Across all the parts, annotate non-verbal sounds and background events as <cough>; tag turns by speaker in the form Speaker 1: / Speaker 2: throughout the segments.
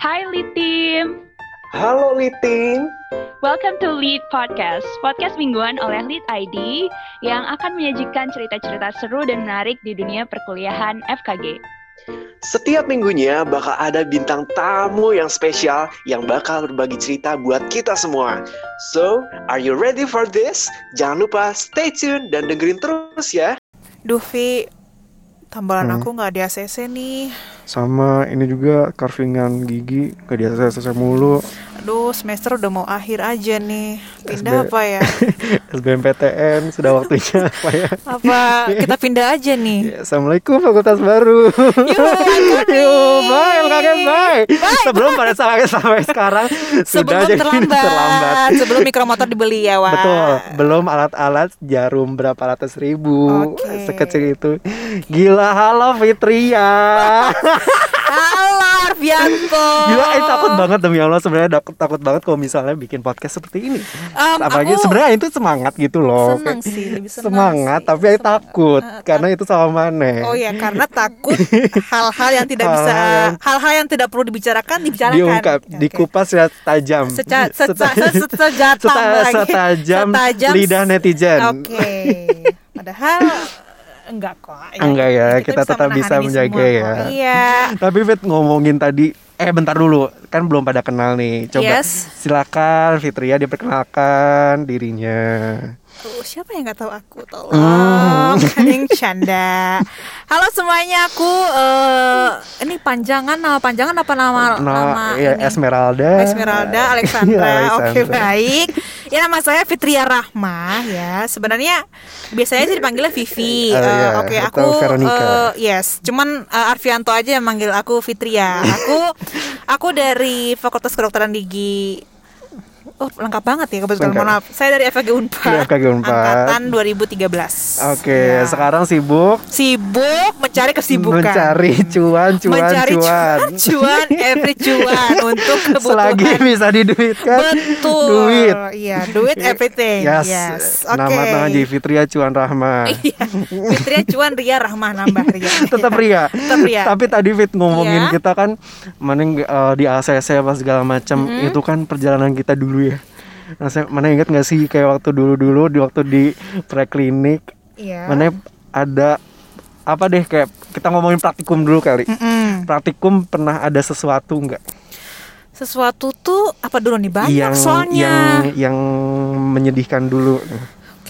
Speaker 1: Hai Lead Team.
Speaker 2: Halo Liting.
Speaker 1: Welcome to Lead Podcast, podcast mingguan oleh Lead ID yang akan menyajikan cerita-cerita seru dan menarik di dunia perkuliahan FKG.
Speaker 2: Setiap minggunya bakal ada bintang tamu yang spesial yang bakal berbagi cerita buat kita semua. So, are you ready for this? Jangan lupa stay tune dan dengerin terus ya.
Speaker 3: Duh, Vi, tambalan
Speaker 4: Hmm.
Speaker 3: aku nggak di ACC nih.
Speaker 4: sama ini juga carvingan gigi gak di ACC <laughs> mulu
Speaker 3: Aduh, semester udah mau akhir aja nih. Pindah
Speaker 4: SB.
Speaker 3: apa
Speaker 4: <laughs>
Speaker 3: ya?
Speaker 4: SBMPTN sudah <laughs> waktunya apa ya
Speaker 3: Apa kita pindah aja nih?
Speaker 4: <laughs> Ya, Assalamualaikum fakultas baru Yo, bye LKKM bye sebelum pada sampai sampai sekarang sudah
Speaker 3: Sebelum
Speaker 4: jadi
Speaker 3: terlambat. Sebelum mikromotor dibeli ya, Wak.
Speaker 4: betul belum alat-alat jarum berapa ratus ribu
Speaker 3: Oke.
Speaker 4: sekecil itu gila halo Fitria
Speaker 3: Halo, Arvianto.
Speaker 4: Gila, eh, takut banget demi Allah sebenarnya takut takut banget kalau misalnya bikin podcast seperti ini.
Speaker 3: Em,
Speaker 4: Apalagi
Speaker 3: aku
Speaker 4: sebenarnya itu semangat gitu loh.
Speaker 3: senang
Speaker 4: Kayak
Speaker 3: sih, lebih senang
Speaker 4: semangat,
Speaker 3: sih.
Speaker 4: tapi aku
Speaker 3: Senang.
Speaker 4: takut
Speaker 3: Eh, eh,
Speaker 4: karena itu sama mana.
Speaker 3: Oh ya, karena
Speaker 4: <laughs>
Speaker 3: takut hal-hal yang tidak bisa,
Speaker 4: Hal-hal yang-
Speaker 3: hal-hal yang tidak perlu dibicarakan, dibicarakan.
Speaker 4: Diungkap,
Speaker 3: kan? Oke.
Speaker 4: dikupas ya, secara tajam. <laughs>
Speaker 3: Seca, seca,
Speaker 4: Seta-
Speaker 3: se- se-
Speaker 4: <laughs>
Speaker 3: sejatam
Speaker 4: seta-
Speaker 3: lagi.
Speaker 4: setajam
Speaker 3: Setajam
Speaker 4: lidah
Speaker 3: se-
Speaker 4: netizen.
Speaker 3: Oke. Padahal enggak kok. ya.
Speaker 4: Enggak ya, kita tetap
Speaker 3: menahan
Speaker 4: bisa
Speaker 3: ini
Speaker 4: menjaga
Speaker 3: semua
Speaker 4: ya.
Speaker 3: kok. Iya.
Speaker 4: Tapi Fit ngomongin tadi eh bentar dulu, kan belum pada kenal nih. Coba
Speaker 3: Yes.
Speaker 4: silakan Fitria diperkenalkan dirinya.
Speaker 3: Tuh, siapa yang nggak tahu aku?
Speaker 4: Hmm.
Speaker 3: <laughs> Tolong. Kadang canda. Halo semuanya, aku eh, ini panjangan nama panjangan apa nama Oh, nama
Speaker 4: Nah, ya,
Speaker 3: ini?
Speaker 4: Esmeralda. <laughs> Iya,
Speaker 3: Esmeralda Alexandra.
Speaker 4: Alexandra.
Speaker 3: Oke, baik. Ya nama saya Fitria Rahma ya. Sebenarnya biasanya sih dipanggilnya Vivi.
Speaker 4: Eh,
Speaker 3: Eh,
Speaker 4: iya,
Speaker 3: Oke,
Speaker 4: atau
Speaker 3: aku
Speaker 4: Veronica.
Speaker 3: eh, yes, cuman eh, Arfianto aja yang manggil aku Fitria. Aku aku dari Fakultas Kedokteran Gigi. Oh, lengkap banget ya kebetulan.
Speaker 4: Lengkap.
Speaker 3: Mohon maaf. Saya dari FKG Unpad.
Speaker 4: Dari FKG Unpad.
Speaker 3: Angkatan 2013.
Speaker 4: Oke,
Speaker 3: Ya.
Speaker 4: sekarang sibuk
Speaker 3: sibuk mencari kesibukan.
Speaker 4: mencari cuan cuan
Speaker 3: mencari
Speaker 4: cuan.
Speaker 3: cuan, cuan, every cuan
Speaker 4: <laughs>
Speaker 3: untuk <laughs> kebutuhan
Speaker 4: selagi bisa diduitkan
Speaker 3: Betul.
Speaker 4: kan? duit
Speaker 3: Iya, duit everything.
Speaker 4: <laughs> yes,
Speaker 3: Yes. Oke.
Speaker 4: nama nama J Fitria Cuan Rahma
Speaker 3: <laughs> Iya. Fitria Cuan Ria Rahmah nambah Ria.
Speaker 4: <laughs> tetap Ria
Speaker 3: Tetap Ria.
Speaker 4: tapi tadi Fit
Speaker 3: Iya.
Speaker 4: ngomongin kita kan mending eh, di ACC apa segala macam
Speaker 3: Mm-hmm.
Speaker 4: itu kan perjalanan kita dulu ya Nah, saya- mana ingat nggak sih kayak waktu dulu-dulu di waktu di preklinik
Speaker 3: Iya.
Speaker 4: mana ada apa deh kayak kita ngomongin praktikum dulu kali
Speaker 3: Mm-mm.
Speaker 4: praktikum pernah ada sesuatu nggak
Speaker 3: Sesuatu tuh apa dulu nih banyak
Speaker 4: yang
Speaker 3: soalnya.
Speaker 4: yang yang menyedihkan dulu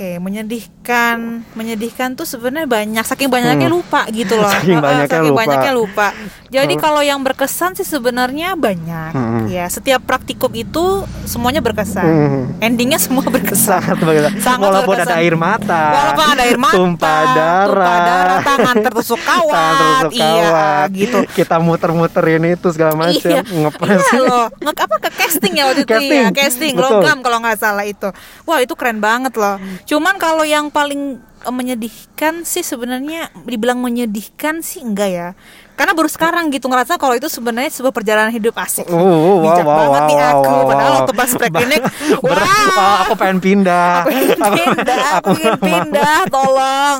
Speaker 3: Oke, menyedihkan, menyedihkan tuh sebenarnya banyak. Saking banyaknya lupa gitu loh.
Speaker 4: Hmm. <laughs> Saking
Speaker 3: Heeh,
Speaker 4: banyaknya
Speaker 3: saking
Speaker 4: lupa. Hmm.
Speaker 3: banyaknya lupa. Jadi kalau yang berkesan sih sebenarnya banyak.
Speaker 4: Mm-mm.
Speaker 3: Ya, setiap praktikum itu semuanya berkesan.
Speaker 4: Mm.
Speaker 3: Endingnya semua <laughs> berkesan.
Speaker 4: sangat berkesan
Speaker 3: Sangat
Speaker 4: walaupun
Speaker 3: berkesan.
Speaker 4: ada air mata
Speaker 3: Walaupun ada air mata,
Speaker 4: tumpah darah,
Speaker 3: tumpah darah,
Speaker 4: <laughs>
Speaker 3: tangan tertusuk kawat,
Speaker 4: tangan tertusuk kawat.
Speaker 3: iya gitu.
Speaker 4: kita muter-muterin itu segala macam
Speaker 3: Iya.
Speaker 4: ngepres
Speaker 3: Iya loh, nge apa ke casting ya waktu itu
Speaker 4: Casting,
Speaker 3: ya, casting
Speaker 4: betul.
Speaker 3: logam kalau nggak salah itu. Wah itu keren banget loh. Cuman kalau yang paling eh, menyedihkan sih sebenarnya dibilang menyedihkan sih enggak ya. Karena baru sekarang gitu ngerasa kalau itu sebenarnya sebuah perjalanan hidup asik.
Speaker 4: Oh, oh, wow,
Speaker 3: Bijak
Speaker 4: wow,
Speaker 3: banget nih
Speaker 4: wow,
Speaker 3: aku.
Speaker 4: wow,
Speaker 3: Padahal
Speaker 4: wow.
Speaker 3: waktu pas preklinik,
Speaker 4: <laughs> Berat,
Speaker 3: wah.
Speaker 4: oh, <laughs> aku pengen pindah
Speaker 3: Aku ingin pindah, aku
Speaker 4: <laughs>
Speaker 3: ingin pindah, tolong.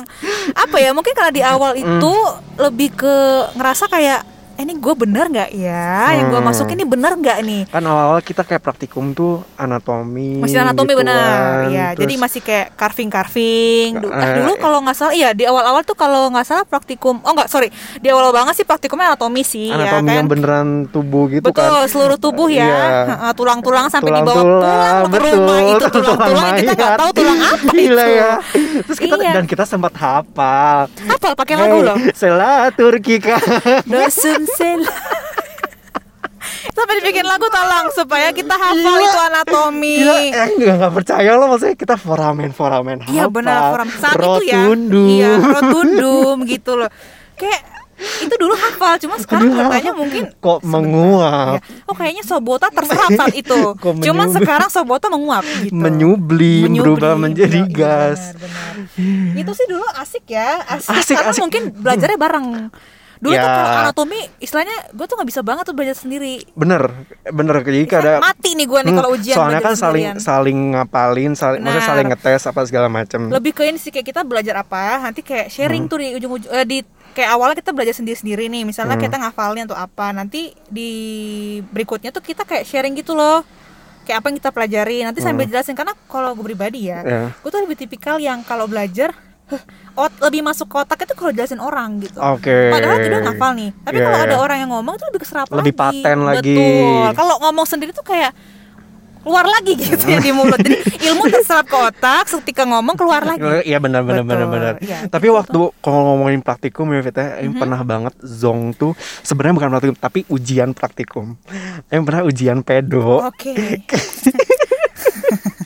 Speaker 3: Apa ya? Mungkin karena di awal
Speaker 4: Mm.
Speaker 3: itu lebih ke ngerasa kayak eh, ini gue bener nggak ya? Yang gue
Speaker 4: Hmm.
Speaker 3: masukin ini bener nggak nih?
Speaker 4: kan awal-awal kita kayak praktikum tuh anatomi
Speaker 3: Masih anatomi
Speaker 4: gituan,
Speaker 3: benar, ya.
Speaker 4: Hmm, gitu kan, terus-
Speaker 3: Jadi masih kayak carving carving.
Speaker 4: Eh,
Speaker 3: dulu kalau nggak salah, iya di awal-awal tuh kalau nggak salah praktikum. Oh nggak, sorry, di awal banget sih praktikumnya anatomi sih,
Speaker 4: anatomi
Speaker 3: ya kan.
Speaker 4: yang beneran tubuh gitu
Speaker 3: Betul,
Speaker 4: kan
Speaker 3: seluruh tubuh ya,
Speaker 4: Iya.
Speaker 3: Heeh, tulang-tulang sampai dibawa
Speaker 4: Tulang-tulang,
Speaker 3: pulang ke rumah
Speaker 4: betul.
Speaker 3: itu tulang-tulang yang kita nggak
Speaker 4: mayat.
Speaker 3: tahu tulang apa
Speaker 4: <laughs> Gila
Speaker 3: itu.
Speaker 4: ya. Terus kita
Speaker 3: Iya.
Speaker 4: dan kita sempat hafal.
Speaker 3: Hafal pakai lagu
Speaker 4: Hey,
Speaker 3: loh.
Speaker 4: Selaturkika.
Speaker 3: Dosen sel. Sampai dibikin lagu tolong supaya kita hafal
Speaker 4: Gila.
Speaker 3: itu anatomi.
Speaker 4: Gila, eh, enggak, enggak percaya loh maksudnya kita foramen foramen hafal.
Speaker 3: Iya benar forum saat itu ya.
Speaker 4: Rotundum.
Speaker 3: Iya,
Speaker 4: <laughs>
Speaker 3: rotundum gitu loh. Kayak itu dulu hafal, cuma sekarang
Speaker 4: Gila.
Speaker 3: katanya mungkin
Speaker 4: kok
Speaker 3: ya,
Speaker 4: menguap,
Speaker 3: oh kayaknya Sobota terserap saat itu.
Speaker 4: Kok
Speaker 3: Cuman
Speaker 4: menyubit.
Speaker 3: sekarang Sobota menguap gitu.
Speaker 4: menyublim,
Speaker 3: Menyubri,
Speaker 4: berubah menjadi
Speaker 3: bener, iya,
Speaker 4: gas.
Speaker 3: benar, benar. Itu sih dulu asik ya, asik,
Speaker 4: Asik,
Speaker 3: karena
Speaker 4: asik.
Speaker 3: mungkin belajarnya bareng. Dulu
Speaker 4: Ya.
Speaker 3: tuh kalau anatomi istilahnya gue tuh nggak bisa banget tuh belajar sendiri.
Speaker 4: bener bener jadi
Speaker 3: Istilahnya
Speaker 4: kadang
Speaker 3: mati nih gue nih kalau
Speaker 4: Hmm,
Speaker 3: ujian
Speaker 4: soalnya
Speaker 3: belajar
Speaker 4: kan saling
Speaker 3: sendirian.
Speaker 4: saling ngapalin saling maksudnya
Speaker 3: Benar.
Speaker 4: saling ngetes apa segala macam
Speaker 3: lebih ke ini sih kayak kita belajar apa nanti kayak sharing
Speaker 4: Hmm.
Speaker 3: tuh di ujung ujung di kayak awalnya kita belajar sendiri sendiri nih misalnya
Speaker 4: Hmm.
Speaker 3: kita ngafalin atau apa nanti di berikutnya tuh kita kayak sharing gitu loh kayak apa yang kita pelajari nanti sambil
Speaker 4: Hmm.
Speaker 3: jelasin karena kalau gue pribadi ya
Speaker 4: ya
Speaker 3: gue tuh lebih tipikal yang kalau belajar huh, ot lebih masuk ke otak itu kalau jelasin orang gitu
Speaker 4: oke
Speaker 3: Padahal kita udah ngafal nih. Tapi
Speaker 4: Iya,
Speaker 3: kalau
Speaker 4: iya.
Speaker 3: ada orang yang ngomong itu lebih keserap
Speaker 4: Lebih
Speaker 3: lagi.
Speaker 4: paten lagi.
Speaker 3: Betul. Kalau ngomong sendiri tuh kayak keluar lagi gitu ya di mulut.
Speaker 4: <laughs>
Speaker 3: Jadi ilmu terserap ke otak, ketika ngomong keluar lagi.
Speaker 4: Iya benar benar
Speaker 3: Betul, Mm-hmm.
Speaker 4: benar benar.
Speaker 3: iya,
Speaker 4: Tapi waktu kalau ngomongin praktikum ya Fit, ya, yang pernah banget zong tuh sebenarnya bukan praktikum tapi ujian praktikum. Yang pernah ujian pedo.
Speaker 3: Oke.
Speaker 4: Kan.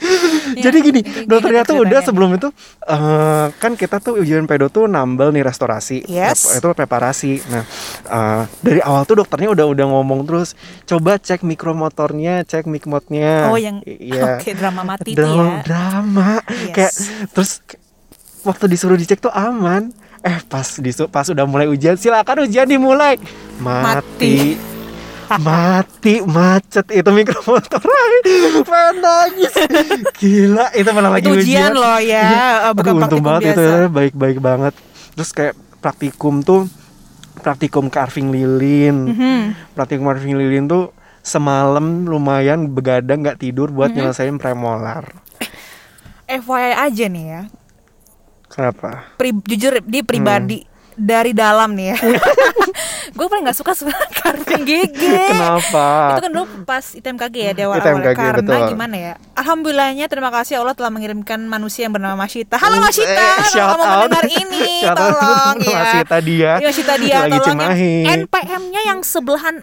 Speaker 3: Oh,
Speaker 4: Jadi gini,
Speaker 3: gimana
Speaker 4: dokternya tuh udah
Speaker 3: iya. ceritanya?
Speaker 4: sebelum itu eh, kan kita tuh ujian pedo tuh nambel nih restorasi,
Speaker 3: Yes.
Speaker 4: Prep- itu preparasi. Nah eh, dari awal tuh dokternya udah udah ngomong terus, coba cek mikromotornya, cek mikmotnya.
Speaker 3: Oh yang
Speaker 4: iya.
Speaker 3: <laughs> oke drama mati itu
Speaker 4: drama
Speaker 3: ya.
Speaker 4: drama
Speaker 3: Yes.
Speaker 4: kayak terus k- waktu disuruh dicek tuh aman eh pas disu pas udah mulai ujian silakan ujian dimulai mati <laughs> mati macet itu mikromotor <laughs> pengen nangis gila itu malah lagi
Speaker 3: Itu ujian loh ya,
Speaker 4: Iya.
Speaker 3: eh, bukan
Speaker 4: Aduh, untung
Speaker 3: praktikum
Speaker 4: banget itu
Speaker 3: biasa.
Speaker 4: ya, baik-baik banget terus kayak praktikum tuh praktikum carving lilin
Speaker 3: Mhm.
Speaker 4: praktikum carving lilin tuh semalam lumayan begadang nggak tidur buat
Speaker 3: Mm-hmm.
Speaker 4: nyelesain premolar
Speaker 3: FYI aja nih ya.
Speaker 4: Kenapa?
Speaker 3: pri- jujur di pribadi
Speaker 4: Hmm.
Speaker 3: dari dalam nih ya. <laughs> gue paling nggak suka <laughs> sebenarnya carving gigi.
Speaker 4: Kenapa?
Speaker 3: Itu kan dulu pas ITMKG ya dewa awal
Speaker 4: ITMKG,
Speaker 3: karena
Speaker 4: betul.
Speaker 3: gimana ya? Alhamdulillahnya terima kasih ya Allah telah mengirimkan manusia yang bernama Mashita. Halo Mashita,
Speaker 4: Eh,
Speaker 3: kalau
Speaker 4: shout
Speaker 3: kamu
Speaker 4: out.
Speaker 3: mendengar ini
Speaker 4: <laughs> Shout out
Speaker 3: tolong
Speaker 4: untuk
Speaker 3: ya.
Speaker 4: Mashita dia.
Speaker 3: Iya, Mashita dia
Speaker 4: Lagi
Speaker 3: tolong
Speaker 4: Cimahi.
Speaker 3: yang NPM-nya yang sebelahan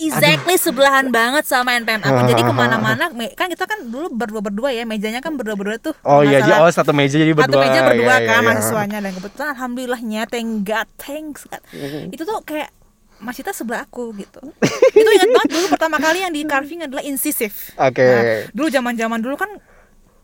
Speaker 3: Exactly sebelahan banget sama NPM aku. Jadi kemana-mana me- kan kita kan dulu berdua berdua ya mejanya kan berdua berdua tuh.
Speaker 4: Oh
Speaker 3: nggak
Speaker 4: iya, jadi
Speaker 3: salah.
Speaker 4: oh satu meja jadi berdua.
Speaker 3: Satu meja berdua
Speaker 4: Iya, iya,
Speaker 3: kan
Speaker 4: iya.
Speaker 3: mahasiswanya dan kebetulan alhamdulillahnya thank God, thanks God.
Speaker 4: Mm-hmm.
Speaker 3: Itu tuh kayak Mas Cita sebelah aku gitu. itu ingat banget dulu pertama kali yang di carving adalah insisif.
Speaker 4: Oke.
Speaker 3: dulu zaman-zaman dulu kan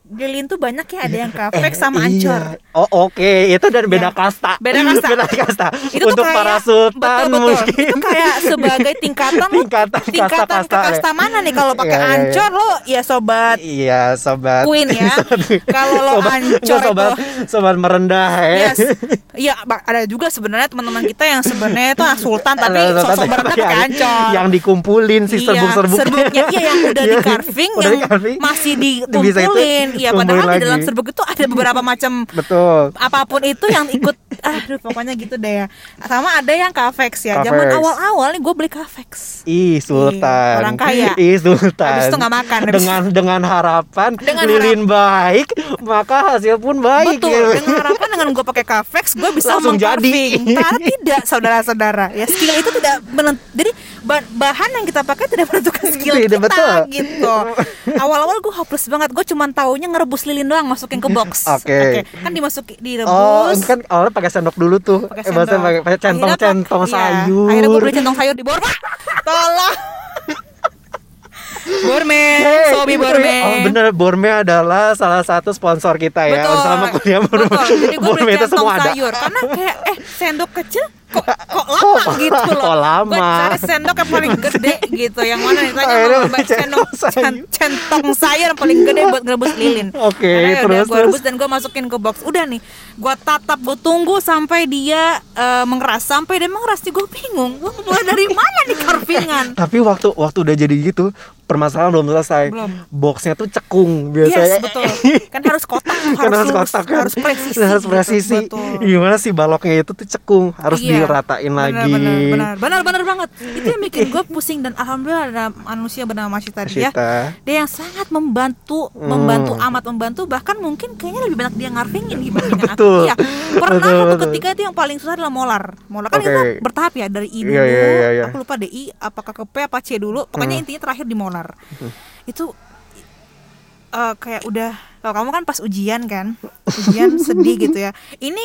Speaker 3: lilin tuh banyak ya ada yang kafek
Speaker 4: <laughs> Eh,
Speaker 3: sama
Speaker 4: iya.
Speaker 3: ancor.
Speaker 4: Oh oke, itu dan
Speaker 3: Iya.
Speaker 4: beda kasta.
Speaker 3: Beda kasta.
Speaker 4: <laughs> Beda kasta.
Speaker 3: Itu
Speaker 4: Untuk
Speaker 3: tuh kayak,
Speaker 4: para sultan
Speaker 3: betul, betul.
Speaker 4: mungkin.
Speaker 3: Itu kayak sebagai tingkatan lu-
Speaker 4: <laughs> Tingkatan kasta-
Speaker 3: tingkatan ke
Speaker 4: kasta ya.
Speaker 3: kasta mana nih kalau pakai
Speaker 4: Iya, iya, iya.
Speaker 3: ancor lo ya sobat
Speaker 4: <laughs> Iya, <laughs> sobat.
Speaker 3: Queen ya. Kalau lo
Speaker 4: Sobat-
Speaker 3: ancor
Speaker 4: sobat,
Speaker 3: itu-
Speaker 4: sobat merendah ya. <laughs>
Speaker 3: Yes. Iya, Ba- ada juga sebenarnya teman-teman kita yang sebenarnya itu ah, sultan tapi
Speaker 4: Lalu,
Speaker 3: sosok
Speaker 4: tapi
Speaker 3: berenang pakai
Speaker 4: yang-
Speaker 3: ancol.
Speaker 4: ya. Iya, Yang dikumpulin sih
Speaker 3: Iya,
Speaker 4: serbuk-serbuknya.
Speaker 3: serbuknya iya yang udah
Speaker 4: <laughs>
Speaker 3: di carving
Speaker 4: Udah
Speaker 3: yang
Speaker 4: di-carving.
Speaker 3: masih
Speaker 4: Bisa itu
Speaker 3: dikumpulin. Iya,
Speaker 4: kumpulin
Speaker 3: padahal di dalam
Speaker 4: lagi.
Speaker 3: serbuk itu ada beberapa macam
Speaker 4: Betul.
Speaker 3: apapun itu yang ikut
Speaker 4: <laughs>
Speaker 3: aduh pokoknya gitu deh ya. Sama ada yang kafex ya. Zaman
Speaker 4: Kafex.
Speaker 3: awal-awal nih gue beli kafex.
Speaker 4: Ih Sultan.
Speaker 3: Iya, orang kaya.
Speaker 4: <laughs> Ih Sultan.
Speaker 3: Habis itu nggak makan, habis
Speaker 4: Dengan dengan harapan
Speaker 3: Dengan
Speaker 4: lilin baik, maka hasil pun baik.
Speaker 3: Betul,
Speaker 4: gitu.
Speaker 3: dengan harapan dengan gue pakai kafex gue bisa
Speaker 4: Langsung
Speaker 3: mengcarving.
Speaker 4: jadi. <laughs>
Speaker 3: Karena tidak saudara-saudara ya skill itu tidak menent- jadi ba- bahan yang kita pakai tidak menentukan skill
Speaker 4: Tidak,
Speaker 3: kita
Speaker 4: betul.
Speaker 3: gitu. Awal-awal gue hopeless banget, gue cuman taunya ngerebus lilin doang masukin ke box.
Speaker 4: <laughs> Oke.
Speaker 3: Kan dimasukin
Speaker 4: Oh,
Speaker 3: direbus.
Speaker 4: kan awalnya pakai sendok dulu tuh.
Speaker 3: pakai
Speaker 4: Eh, bahasa
Speaker 3: sendok.
Speaker 4: pakai pakai
Speaker 3: Akhirnya pak-
Speaker 4: centong-centong
Speaker 3: iya,
Speaker 4: sayur.
Speaker 3: Akhirnya gue beli centong sayur di Borma. <laughs>
Speaker 4: <laughs>
Speaker 3: Tolong. Bormen,
Speaker 4: Yeay.
Speaker 3: Sobi Bormen.
Speaker 4: Oh bener, Borme adalah salah satu sponsor kita ya Sama kuliah Borme
Speaker 3: Betul. Jadi gue
Speaker 4: Borme
Speaker 3: beli
Speaker 4: itu
Speaker 3: centong
Speaker 4: semua ada
Speaker 3: sayur karena kayak eh sendok kecil kok kok lama
Speaker 4: Kok-
Speaker 3: gitu loh.
Speaker 4: kok lama?
Speaker 3: Gue cari sendok yang paling gede gitu yang mana nih tanya
Speaker 4: Akhirnya
Speaker 3: sama
Speaker 4: beli
Speaker 3: Mbak sendok
Speaker 4: centong sayur.
Speaker 3: cen- centong sayur yang paling gede buat ngerebus lilin.
Speaker 4: Oke,
Speaker 3: terus
Speaker 4: terus,
Speaker 3: gue rebus
Speaker 4: terus.
Speaker 3: dan gue masukin ke box. Udah nih, gue tatap, gue tunggu sampai dia eh, mengeras, sampai dia mengeras nih gue bingung. Gue mulai dari mana nih carvingan?
Speaker 4: Tapi waktu waktu udah jadi gitu Permasalahan belum selesai
Speaker 3: Belum.
Speaker 4: Boxnya tuh cekung biasanya
Speaker 3: Yes, betul. Kan harus kotak, harus,
Speaker 4: <laughs> Kan harus
Speaker 3: lurus,
Speaker 4: kotak kan
Speaker 3: harus presisi.
Speaker 4: harus
Speaker 3: gitu.
Speaker 4: presisi.
Speaker 3: Betul.
Speaker 4: Gimana sih baloknya itu tuh cekung Harus
Speaker 3: Iya.
Speaker 4: diratain
Speaker 3: Benar,
Speaker 4: lagi
Speaker 3: benar benar benar benar banget itu yang
Speaker 4: <laughs>
Speaker 3: bikin gue pusing dan alhamdulillah ada manusia bernama ya. Mas Sita dia
Speaker 4: Sita.
Speaker 3: dia yang sangat membantu
Speaker 4: Hmm.
Speaker 3: membantu amat membantu bahkan mungkin kayaknya lebih banyak dia ngarvingin dibandingkan aku
Speaker 4: Betul. <laughs>
Speaker 3: iya pernah
Speaker 4: Betul,
Speaker 3: satu
Speaker 4: betul.
Speaker 3: ketika itu yang paling susah adalah molar molar kan
Speaker 4: Oke.
Speaker 3: kita bertahap ya dari I dulu
Speaker 4: Iya, iya, iya, iya. Hmm.
Speaker 3: aku lupa DI apakah ke P apa C dulu pokoknya intinya terakhir di molar itu eh, kayak udah kalau kamu kan pas ujian kan ujian
Speaker 4: <laughs>
Speaker 3: sedih gitu ya ini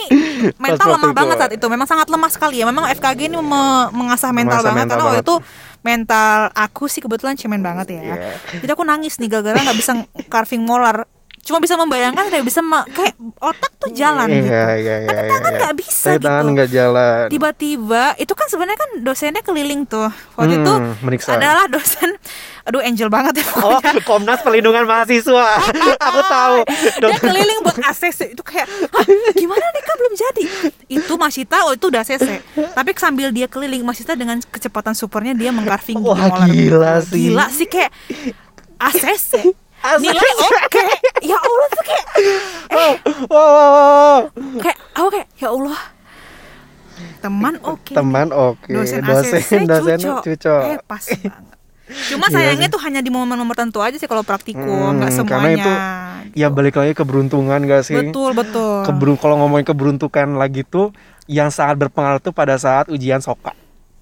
Speaker 3: mental
Speaker 4: waktu
Speaker 3: lemah
Speaker 4: itu. eh.
Speaker 3: banget saat itu memang sangat lemah sekali ya memang FKG ini me- mengasah mental banget
Speaker 4: Mengasah mental
Speaker 3: karena waktu
Speaker 4: banget.
Speaker 3: itu mental aku sih kebetulan cemen banget ya
Speaker 4: Iya.
Speaker 3: jadi aku nangis nih gara-gara nggak bisa carving molar cuma bisa membayangkan kayak bisa ma- kayak otak tuh jalan gitu.
Speaker 4: Iya, iya, iya.
Speaker 3: Tapi
Speaker 4: iya,
Speaker 3: tangan
Speaker 4: iya.
Speaker 3: nggak bisa
Speaker 4: Tapi
Speaker 3: gitu.
Speaker 4: tangan nggak jalan.
Speaker 3: Tiba-tiba itu kan sebenarnya kan dosennya keliling tuh. Waktu
Speaker 4: Hmm,
Speaker 3: itu
Speaker 4: meriksa.
Speaker 3: adalah dosen aduh angel banget ya <laughs>
Speaker 4: Oh,
Speaker 3: pokoknya.
Speaker 4: Komnas Perlindungan Mahasiswa. <laughs> Aku tahu.
Speaker 3: Oh, iya, Dia keliling buat ACC itu kayak "Hah, gimana nih kan belum jadi. Itu Masita oh itu udah ACC. Tapi sambil dia keliling Masita dengan kecepatan supernya dia mengcarving
Speaker 4: Wah,
Speaker 3: molar.
Speaker 4: gila sih.
Speaker 3: Gila sih kayak ACC.
Speaker 4: ACC.
Speaker 3: Nilai oke. Ya Allah tuh kayak
Speaker 4: <laughs> Oh, oh, oh, oh.
Speaker 3: kayak aku kayak ya Allah. Teman oke.
Speaker 4: Teman oke,
Speaker 3: dosen,
Speaker 4: dosen
Speaker 3: ACC
Speaker 4: dosen
Speaker 3: cuco.
Speaker 4: cuco.
Speaker 3: Eh, pas banget. Cuma
Speaker 4: Gila
Speaker 3: sayangnya
Speaker 4: sih.
Speaker 3: tuh hanya di momen-momen tertentu aja sih kalau praktikum,
Speaker 4: Hmm,
Speaker 3: nggak semuanya. gitu.
Speaker 4: karena itu ya balik lagi keberuntungan gak sih?
Speaker 3: Betul, betul.
Speaker 4: Keberun kalau ngomongin keberuntungan lagi tuh yang sangat berpengaruh tuh pada saat ujian soka.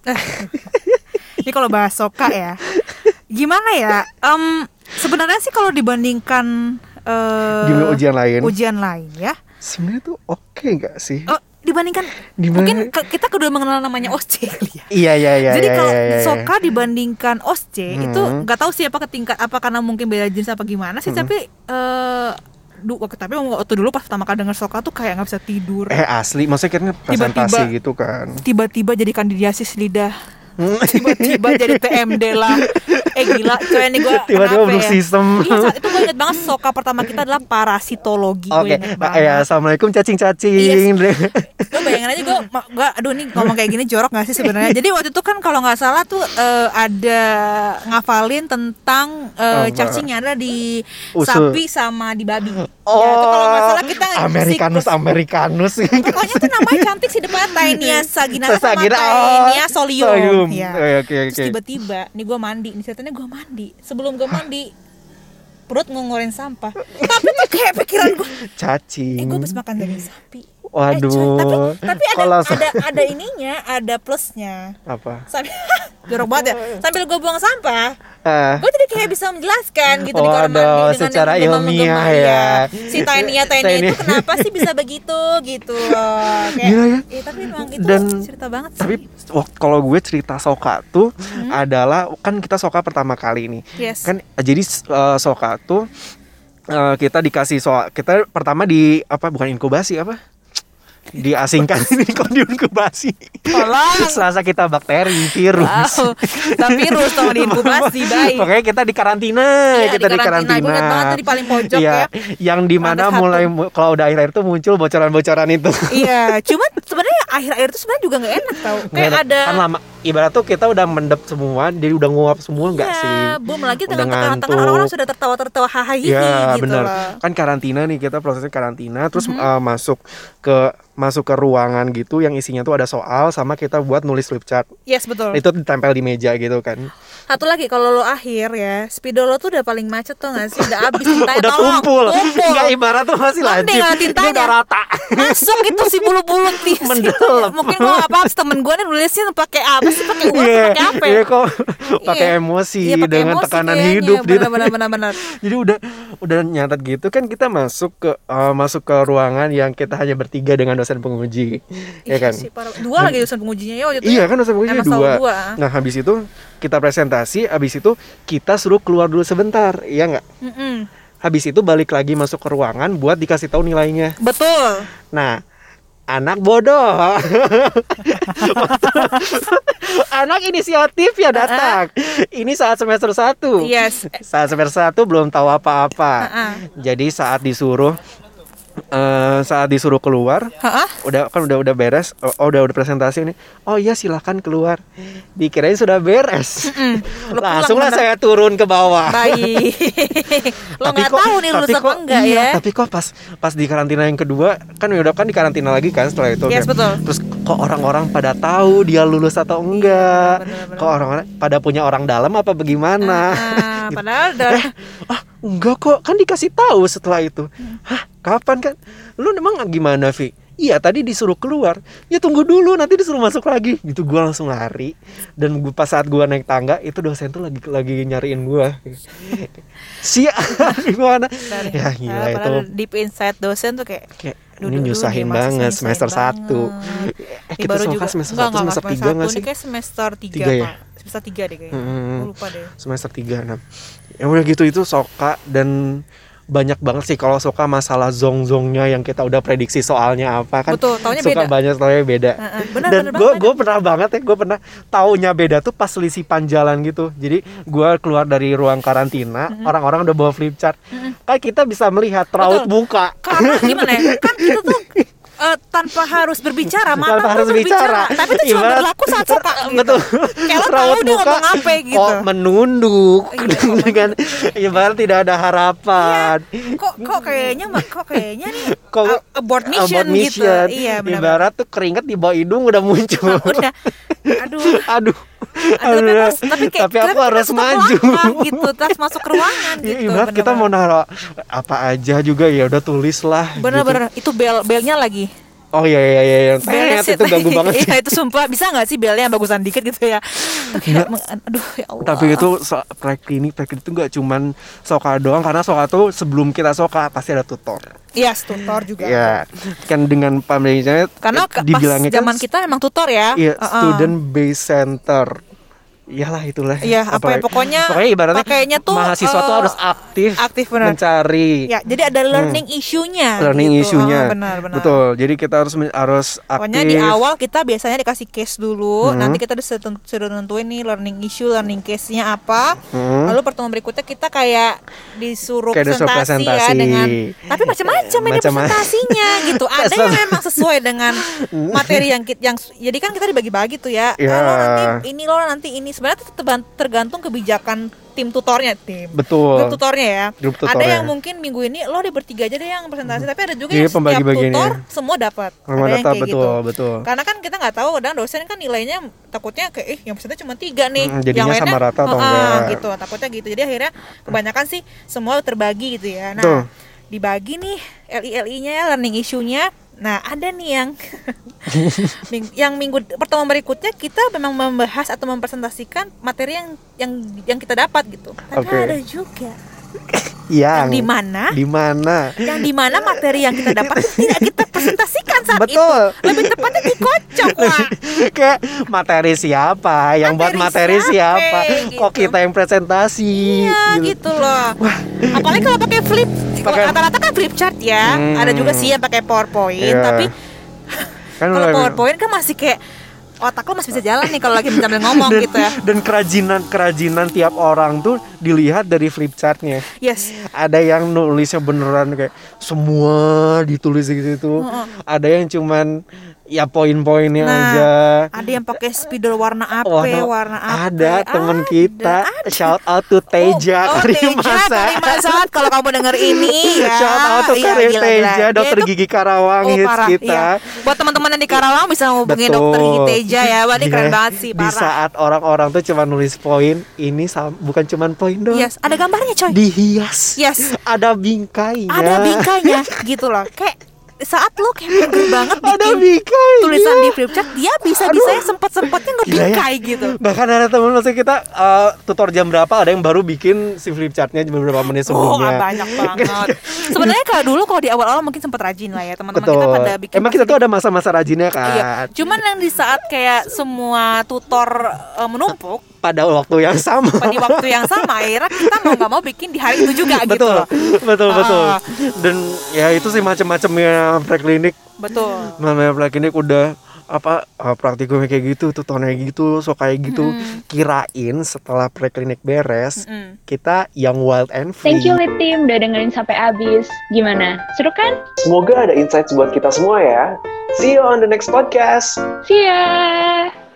Speaker 3: <laughs> Ini kalau bahas soka ya, gimana ya? Em, sebenarnya sih kalau dibandingkan eh,
Speaker 4: Di ujian lain.
Speaker 3: ujian lain ya,
Speaker 4: Sebenarnya tuh oke gak sih?
Speaker 3: Eh, dibandingkan
Speaker 4: Di
Speaker 3: mungkin
Speaker 4: mana-
Speaker 3: ke- kita udah mengenal namanya OSC <laughs> kali ya.
Speaker 4: Iya iya iya.
Speaker 3: Jadi
Speaker 4: iya,
Speaker 3: kalau
Speaker 4: iya, iya.
Speaker 3: soka dibandingkan OSC itu
Speaker 4: Hmm.
Speaker 3: nggak tahu sih apa ketingkat apa karena mungkin beda jenis apa gimana sih tapi eh du, waktu tapi waktu dulu pas pertama kali denger soka tuh kayak nggak bisa tidur
Speaker 4: eh asli, maksudnya kayaknya presentasi
Speaker 3: Tiba-tiba-
Speaker 4: gitu
Speaker 3: <laughs>
Speaker 4: kan.
Speaker 3: tiba-tiba jadi kandidiasis lidah
Speaker 4: Hmm.
Speaker 3: tiba-tiba jadi TMD lah eh gila coy ini gue
Speaker 4: Tiba-tiba
Speaker 3: kenapa
Speaker 4: berubah sistem.
Speaker 3: iya saat itu gue inget banget soka pertama kita adalah parasitologi gue
Speaker 4: Oke,
Speaker 3: inget
Speaker 4: Pak, ya
Speaker 3: banget Iya,
Speaker 4: assalamualaikum cacing-cacing.
Speaker 3: gue bayangin aja gue gue aduh nih ngomong kayak gini jorok gak sih sebenarnya jadi waktu itu kan kalau nggak salah tuh eh, ada ngafalin tentang
Speaker 4: Apa?
Speaker 3: eh, cacingnya ada di
Speaker 4: Oh, Usul.
Speaker 3: sapi sama di babi Ya, itu
Speaker 4: Oh,
Speaker 3: kalau nggak salah kita
Speaker 4: Americanus
Speaker 3: si-
Speaker 4: Americanus.
Speaker 3: Eh, Pokoknya tuh namanya cantik sih depan Taenia Saginata sama
Speaker 4: Sagira-
Speaker 3: Taenia
Speaker 4: oh,
Speaker 3: Solium.
Speaker 4: Solium.
Speaker 3: Ya.
Speaker 4: Oh, iya, oke,
Speaker 3: Terus
Speaker 4: oke.
Speaker 3: tiba-tiba nih gue mandi, nih ceritanya gue mandi. Sebelum gue mandi perut ngongolin sampah. Tapi tuh kayak pikiran gue, eh
Speaker 4: Cacing.
Speaker 3: gue habis makan daging sapi. Eh,
Speaker 4: Waduh.
Speaker 3: coy, tapi tapi ada,
Speaker 4: Kalau sa-
Speaker 3: ada ada ininya, ada plusnya.
Speaker 4: Apa?
Speaker 3: Sambil <laughs> jorok banget ya. Sambil gue buang sampah,
Speaker 4: Eh,
Speaker 3: gue tidak kayak bisa menjelaskan gitu di kamar
Speaker 4: Waduh,
Speaker 3: mandi dengan
Speaker 4: secara
Speaker 3: yang menggema-
Speaker 4: ilmiah
Speaker 3: menggema,
Speaker 4: ya.
Speaker 3: Si Tania Tania
Speaker 4: Tania.
Speaker 3: itu kenapa sih bisa begitu gitu loh.
Speaker 4: <laughs>
Speaker 3: Kayak,
Speaker 4: Gila ya.
Speaker 3: "Ih, Iya, tapi memang itu
Speaker 4: Dan-
Speaker 3: cerita banget sih.
Speaker 4: tapi waktu kalau gue cerita soka tuh
Speaker 3: Hmm.
Speaker 4: adalah kan kita soka pertama kali nih.
Speaker 3: Yes.
Speaker 4: Kan jadi eh, soka tuh eh, kita dikasih soal kita pertama di apa bukan inkubasi apa?
Speaker 3: <laughs>
Speaker 4: diasingkan ini kalau di inkubasi.
Speaker 3: Iya.
Speaker 4: <laughs>
Speaker 3: Tolong.
Speaker 4: Selasa kita bakteri, virus.
Speaker 3: Wow, tapi terus
Speaker 4: <laughs>
Speaker 3: sama di inkubasi baik.
Speaker 4: Pokoknya kita di karantina,
Speaker 3: Iya,
Speaker 4: kita di karantina.
Speaker 3: Gue ingat banget tadi paling pojok
Speaker 4: Iya,
Speaker 3: ya.
Speaker 4: yang dimana
Speaker 3: Lantai satu.
Speaker 4: mulai mu- kalau udah akhir-akhir tuh muncul bocoran-bocoran itu.
Speaker 3: Iya, cuman sebenarnya akhir-akhir itu sebenarnya juga nggak enak tau. Kayak
Speaker 4: Nggak
Speaker 3: ada
Speaker 4: kan lama ibarat tuh kita udah mendep semua jadi udah nguap semua nggak
Speaker 3: Iya,
Speaker 4: sih
Speaker 3: Belum lagi
Speaker 4: Udah
Speaker 3: dengan tekanan-tekanan
Speaker 4: ngantuk.
Speaker 3: orang-orang sudah tertawa-tertawa hahaha
Speaker 4: Iya
Speaker 3: gitu
Speaker 4: benar
Speaker 3: loh. Mm-hmm.
Speaker 4: kan karantina nih kita prosesnya karantina terus eh, masuk ke masuk ke ruangan gitu yang isinya tuh ada soal sama kita buat nulis flip chart
Speaker 3: Yes, betul.
Speaker 4: itu ditempel di meja gitu kan
Speaker 3: Satu lagi kalau lo akhir ya, speedo lo tuh udah paling macet tuh gak sih? Udah habis tintanya
Speaker 4: <laughs> udah
Speaker 3: Eh, tolong.
Speaker 4: tumpul
Speaker 3: tumpul.
Speaker 4: nggak ibarat tuh masih
Speaker 3: Mending
Speaker 4: lancip
Speaker 3: lah
Speaker 4: ini
Speaker 3: tintanya.
Speaker 4: udah rata
Speaker 3: Masuk itu gitu, si
Speaker 4: <laughs>
Speaker 3: bulu-bulu di situ.
Speaker 4: Mendelep.
Speaker 3: Mungkin gua apa habis temen gua nih nulisnya pakai apa sih? Pakai uang
Speaker 4: Iya,
Speaker 3: pakai apa? ya?
Speaker 4: iya kok pakai
Speaker 3: Iya.
Speaker 4: emosi
Speaker 3: Iya, pakai
Speaker 4: dengan
Speaker 3: emosi Iya,
Speaker 4: tekanan
Speaker 3: kayaknya.
Speaker 4: hidup gitu.
Speaker 3: Benar, benar, benar, benar.
Speaker 4: <laughs> Jadi udah udah nyatet gitu kan kita masuk ke eh, masuk ke ruangan yang kita hanya bertiga dengan dosen penguji. ya
Speaker 3: Iya
Speaker 4: kan?
Speaker 3: sih, parah. Dua lagi dosen pengujinya ya waktu itu.
Speaker 4: Iya kan dosen penguji
Speaker 3: Emang selalu
Speaker 4: dua.
Speaker 3: dua.
Speaker 4: Nah, habis itu kita presentasi, habis itu kita suruh keluar dulu sebentar, iya nggak?
Speaker 3: Mm-mm.
Speaker 4: Habis itu balik lagi masuk ke ruangan buat dikasih tahu nilainya.
Speaker 3: Betul.
Speaker 4: Nah, anak
Speaker 3: <laughs>
Speaker 4: bodoh. <laughs> anak inisiatif ya datang. Ini saat semester 1.
Speaker 3: Yes.
Speaker 4: <laughs> Saat semester 1 belum tahu apa-apa.
Speaker 3: Heeh.
Speaker 4: Jadi saat disuruh eh, saat disuruh keluar
Speaker 3: Hah?
Speaker 4: udah kan udah udah beres oh, oh, udah udah presentasi ini oh iya silahkan keluar dikirain sudah beres
Speaker 3: Lu pulang
Speaker 4: langsunglah
Speaker 3: bener.
Speaker 4: saya turun ke bawah <laughs>
Speaker 3: Baik. lo
Speaker 4: Tapi
Speaker 3: nggak
Speaker 4: kok-
Speaker 3: tahu nih lulus
Speaker 4: tapi
Speaker 3: apa
Speaker 4: kok-
Speaker 3: enggak
Speaker 4: iya,
Speaker 3: ya?
Speaker 4: Tapi kok pas pas di karantina yang kedua kan udah kan di karantina lagi kan setelah itu.
Speaker 3: Yes,
Speaker 4: kan? <laughs>
Speaker 3: betul. Iya,
Speaker 4: Terus kok orang-orang pada tahu dia lulus atau enggak?
Speaker 3: benar-benar.
Speaker 4: Kok orang-orang pada punya orang dalam apa bagaimana?
Speaker 3: Ah,
Speaker 4: Gitu.
Speaker 3: padahal
Speaker 4: <laughs>
Speaker 3: udah
Speaker 4: Eh, ah, enggak kok kan dikasih tahu setelah itu.
Speaker 3: Hmm.
Speaker 4: Hah, kapan kan? Lu emang gimana, Vi? Iya tadi disuruh keluar Ya tunggu dulu nanti disuruh masuk lagi Gitu gua langsung lari Dan gua, pas saat gua naik tangga Itu dosen tuh lagi lagi nyariin
Speaker 3: <laughs>
Speaker 4: gua Si <laughs> gimana Ya gila
Speaker 3: Ah,
Speaker 4: itu Eh,
Speaker 3: padahal deep inside dosen tuh kayak
Speaker 4: Kayak
Speaker 3: Duh, duh,
Speaker 4: ini
Speaker 3: duh,
Speaker 4: nyusahin
Speaker 3: gimana sih
Speaker 4: banget
Speaker 3: nyusahin
Speaker 4: semester
Speaker 3: banget?
Speaker 4: 1 Eh
Speaker 3: Ini
Speaker 4: kita
Speaker 3: baru
Speaker 4: soal
Speaker 3: juga
Speaker 4: semester
Speaker 3: enggak,
Speaker 4: 1
Speaker 3: enggak,
Speaker 4: semester 3
Speaker 3: satu.
Speaker 4: gak sih? Hmm.
Speaker 3: Ini kayak semester 3,
Speaker 4: Tiga ya?
Speaker 3: Semester 3 deh kayaknya.
Speaker 4: Mm-mm.
Speaker 3: Gua lupa deh.
Speaker 4: semester 3 6 ya udah gitu itu soka dan banyak banget sih kalau suka masalah zong-zongnya yang kita udah prediksi soalnya apa kan
Speaker 3: Betul, taunya
Speaker 4: suka
Speaker 3: beda.
Speaker 4: banyak soalnya beda
Speaker 3: Heeh, benar,
Speaker 4: dan
Speaker 3: benar
Speaker 4: gue
Speaker 3: banget.
Speaker 4: gue pernah banget ya gue pernah taunya beda tuh pas selisipan jalan gitu jadi gue keluar dari ruang karantina orang-orang udah bawa flip chart kan kita bisa melihat
Speaker 3: Betul.
Speaker 4: raut muka
Speaker 3: karena gimana ya kan kita tuh eh, tanpa harus berbicara mata
Speaker 4: Tanpa
Speaker 3: tuh
Speaker 4: harus bicara.
Speaker 3: tapi itu cuma
Speaker 4: Ibarat-
Speaker 3: berlaku saat
Speaker 4: <laughs>
Speaker 3: suka gitu.
Speaker 4: Betul. Oh,
Speaker 3: kayak lo
Speaker 4: <laughs>
Speaker 3: tahu dia ngomong apa gitu
Speaker 4: kok menunduk
Speaker 3: Iya, kok
Speaker 4: <laughs> dengan ibarat tidak ada harapan.
Speaker 3: kok kok kayaknya mah kok kayaknya nih
Speaker 4: Kok
Speaker 3: a- abort mission,
Speaker 4: abort mission.
Speaker 3: gitu iya benar Nah,
Speaker 4: Ibarat tuh keringet di bawah hidung udah muncul.
Speaker 3: <laughs> udah aduh
Speaker 4: <laughs> Aduh.
Speaker 3: aduh tapi, harus- tapi kayak
Speaker 4: Tapi aku
Speaker 3: kita
Speaker 4: harus
Speaker 3: masuk ke
Speaker 4: maju.
Speaker 3: ruangan
Speaker 4: <laughs>
Speaker 3: gitu terus masuk ke ruangan
Speaker 4: Iya,
Speaker 3: gitu
Speaker 4: ibarat kita mau
Speaker 3: benar-benar.
Speaker 4: naruh apa aja juga ya udah tulis lah.
Speaker 3: benar-benar itu bel belnya lagi
Speaker 4: gitu. Oh iya iya iya yang
Speaker 3: Belnya sih.
Speaker 4: tet, itu
Speaker 3: <laughs>
Speaker 4: ganggu banget sih.
Speaker 3: Iya itu sumpah bisa nggak sih belnya yang bagusan dikit gitu ya Tuh kayak meng- aduh ya Allah
Speaker 4: Tapi itu so, preklinik, preklinik itu nggak cuman soka doang karena soka tuh sebelum kita soka pasti ada tutor.
Speaker 3: Iya, tutor juga.
Speaker 4: Iya, kan dengan pandeminya
Speaker 3: Karena
Speaker 4: eh,
Speaker 3: ke, pas
Speaker 4: dibilangnya kan
Speaker 3: zaman kita emang tutor ya.
Speaker 4: Iya,
Speaker 3: Heeh.
Speaker 4: student base center. Iyalah itulah.
Speaker 3: Iya, apa ya, pokoknya
Speaker 4: pokoknya ibaratnya
Speaker 3: pakainya tuh,
Speaker 4: mahasiswa tuh
Speaker 3: eh,
Speaker 4: harus aktif,
Speaker 3: aktif, benar.
Speaker 4: mencari Hmm.
Speaker 3: Ya, jadi ada learning issue-nya.
Speaker 4: learning
Speaker 3: gitu.
Speaker 4: isunya.
Speaker 3: Ah, benar, benar.
Speaker 4: Betul. Jadi kita harus men- harus aktif.
Speaker 3: Pokoknya di awal kita biasanya dikasih case dulu,
Speaker 4: Hmm.
Speaker 3: nanti kita disuruh suruh nentuin nih learning issue, learning case-nya apa.
Speaker 4: Hmm.
Speaker 3: Lalu pertemuan berikutnya kita kayak disuruh
Speaker 4: Kayak disuruh
Speaker 3: presentasi,
Speaker 4: presentasi.
Speaker 3: ya
Speaker 4: Iya.
Speaker 3: dengan tapi macam-macam ini
Speaker 4: Macam-macam.
Speaker 3: presentasinya
Speaker 4: <laughs>
Speaker 3: gitu. Ada yang memang sesuai dengan materi yang kit- yang jadi kan kita dibagi-bagi tuh ya.
Speaker 4: Ya.
Speaker 3: Ah, lo nanti ini lo nanti ini sebenarnya tetap tergantung kebijakan tim tutornya tim.
Speaker 4: Betul.
Speaker 3: Grup tutornya ya.
Speaker 4: Grup
Speaker 3: Ada
Speaker 4: tutornya.
Speaker 3: yang mungkin minggu ini lo di bertiga aja deh yang presentasi, tapi ada juga
Speaker 4: Jadi
Speaker 3: yang setiap
Speaker 4: pembagi-bagiannya.
Speaker 3: tutor semua dapat.
Speaker 4: Semua
Speaker 3: Ada yang
Speaker 4: dapat,
Speaker 3: kayak gitu.
Speaker 4: betul, betul.
Speaker 3: Karena kan kita nggak tahu kadang dosen kan nilainya takutnya kayak eh yang presentasi cuma tiga nih,
Speaker 4: Mm,
Speaker 3: yang
Speaker 4: jadinya sama rata
Speaker 3: "Ah,
Speaker 4: atau
Speaker 3: ah,"
Speaker 4: enggak.
Speaker 3: gitu. Takutnya gitu. Jadi akhirnya kebanyakan sih semua terbagi gitu ya. Nah,
Speaker 4: Betul.
Speaker 3: dibagi nih LI-LI-nya, learning issue-nya. Nah, ada nih
Speaker 4: <laughs>
Speaker 3: yang Ming- yang minggu pertemuan berikutnya kita memang membahas atau mempresentasikan materi yang yang yang kita dapat gitu. Tapi
Speaker 4: Oke.
Speaker 3: ada juga
Speaker 4: Yang,
Speaker 3: yang di mana
Speaker 4: Iya. Di mana? <laughs>
Speaker 3: yang di mana materi yang kita dapat itu tidak kita presentasikan saat
Speaker 4: Betul.
Speaker 3: itu lebih tepatnya
Speaker 4: <laughs>
Speaker 3: dikocok wah
Speaker 4: Kayak materi siapa yang buat
Speaker 3: Materi
Speaker 4: materi
Speaker 3: siapa,
Speaker 4: siapa? Kok
Speaker 3: gitu.
Speaker 4: kita yang presentasi?
Speaker 3: iya gitu loh apalagi kalau pakai flip
Speaker 4: Pakai-
Speaker 3: rata-rata kan flip chart ya
Speaker 4: Hmm.
Speaker 3: ada juga sih yang pakai powerpoint
Speaker 4: Iya.
Speaker 3: tapi
Speaker 4: Kan
Speaker 3: kalau
Speaker 4: mulai-
Speaker 3: powerpoint kan masih kayak otak lo masih bisa jalan nih kalau lagi sambil ngomong
Speaker 4: dan,
Speaker 3: gitu ya
Speaker 4: dan kerajinan kerajinan tiap orang tuh dilihat dari flip chartnya
Speaker 3: yes
Speaker 4: ada yang nulisnya beneran kayak semua ditulis gitu ada yang cuman ya poin-poinnya
Speaker 3: Nah,
Speaker 4: aja
Speaker 3: ada yang pakai spidol warna apa ya, warna
Speaker 4: Warna-
Speaker 3: apa ya?
Speaker 4: ada teman
Speaker 3: Ada.
Speaker 4: kita shout out to Teja
Speaker 3: oh, oh, Teja
Speaker 4: <laughs> Karimasa
Speaker 3: Karimasa, kalau kamu denger ini ya
Speaker 4: shout out to
Speaker 3: Iya,
Speaker 4: Karim
Speaker 3: gila, gila.
Speaker 4: Teja
Speaker 3: Dia
Speaker 4: dokter
Speaker 3: itu
Speaker 4: gigi Karawang
Speaker 3: Oh,
Speaker 4: hits
Speaker 3: parah,
Speaker 4: kita
Speaker 3: iya. Buat teman-teman yang di Karawang bisa ngubungin dokter Gigi Teja ya. Wah, ini
Speaker 4: Iya,
Speaker 3: keren banget sih,
Speaker 4: Di
Speaker 3: parah.
Speaker 4: saat orang-orang tuh cuma nulis poin, ini sam- bukan cuman poin doang.
Speaker 3: Yes, ada gambarnya coy.
Speaker 4: dihias
Speaker 3: Yes.
Speaker 4: ada bingkainya
Speaker 3: Ada bingkainya gitu loh. Kayak saat lo kayak mager banget
Speaker 4: ada
Speaker 3: bikin
Speaker 4: bingkai iya.
Speaker 3: tulisan di flipchart, dia bisa bisa ya sempet-sempetnya ngebingkai gitu.
Speaker 4: bahkan ada teman maksudnya kita eh, tutor jam berapa ada yang baru bikin si flip chartnya beberapa menit
Speaker 3: Oh, ah,
Speaker 4: sebelumnya <laughs>
Speaker 3: banyak banget. Sebenarnya kalau dulu kalau di awal-awal mungkin sempat rajin lah ya teman-teman
Speaker 4: betul
Speaker 3: kita pada bikin.
Speaker 4: emang kita tuh ada masa-masa rajinnya kan
Speaker 3: Iya. Cuman yang di saat kayak semua tutor eh, menumpuk
Speaker 4: pada waktu yang sama
Speaker 3: di waktu yang sama akhirnya kita mau nggak mau bikin di hari itu juga
Speaker 4: <laughs>
Speaker 3: gitu
Speaker 4: betul
Speaker 3: loh.
Speaker 4: betul
Speaker 3: Ah.
Speaker 4: betul dan ya itu sih macam-macamnya preklinik
Speaker 3: Betul.
Speaker 4: namanya preklinik udah apa eh, praktikumnya kayak gitu tutornya gitu so kayak gitu
Speaker 3: Hmm.
Speaker 4: kirain setelah preklinik beres
Speaker 3: Mm.
Speaker 4: kita yang wild and free
Speaker 1: Thank you Lit Team udah dengerin sampai habis. Gimana? Seru kan?
Speaker 2: Semoga ada insights buat kita semua ya. See you on the next podcast.
Speaker 1: See ya.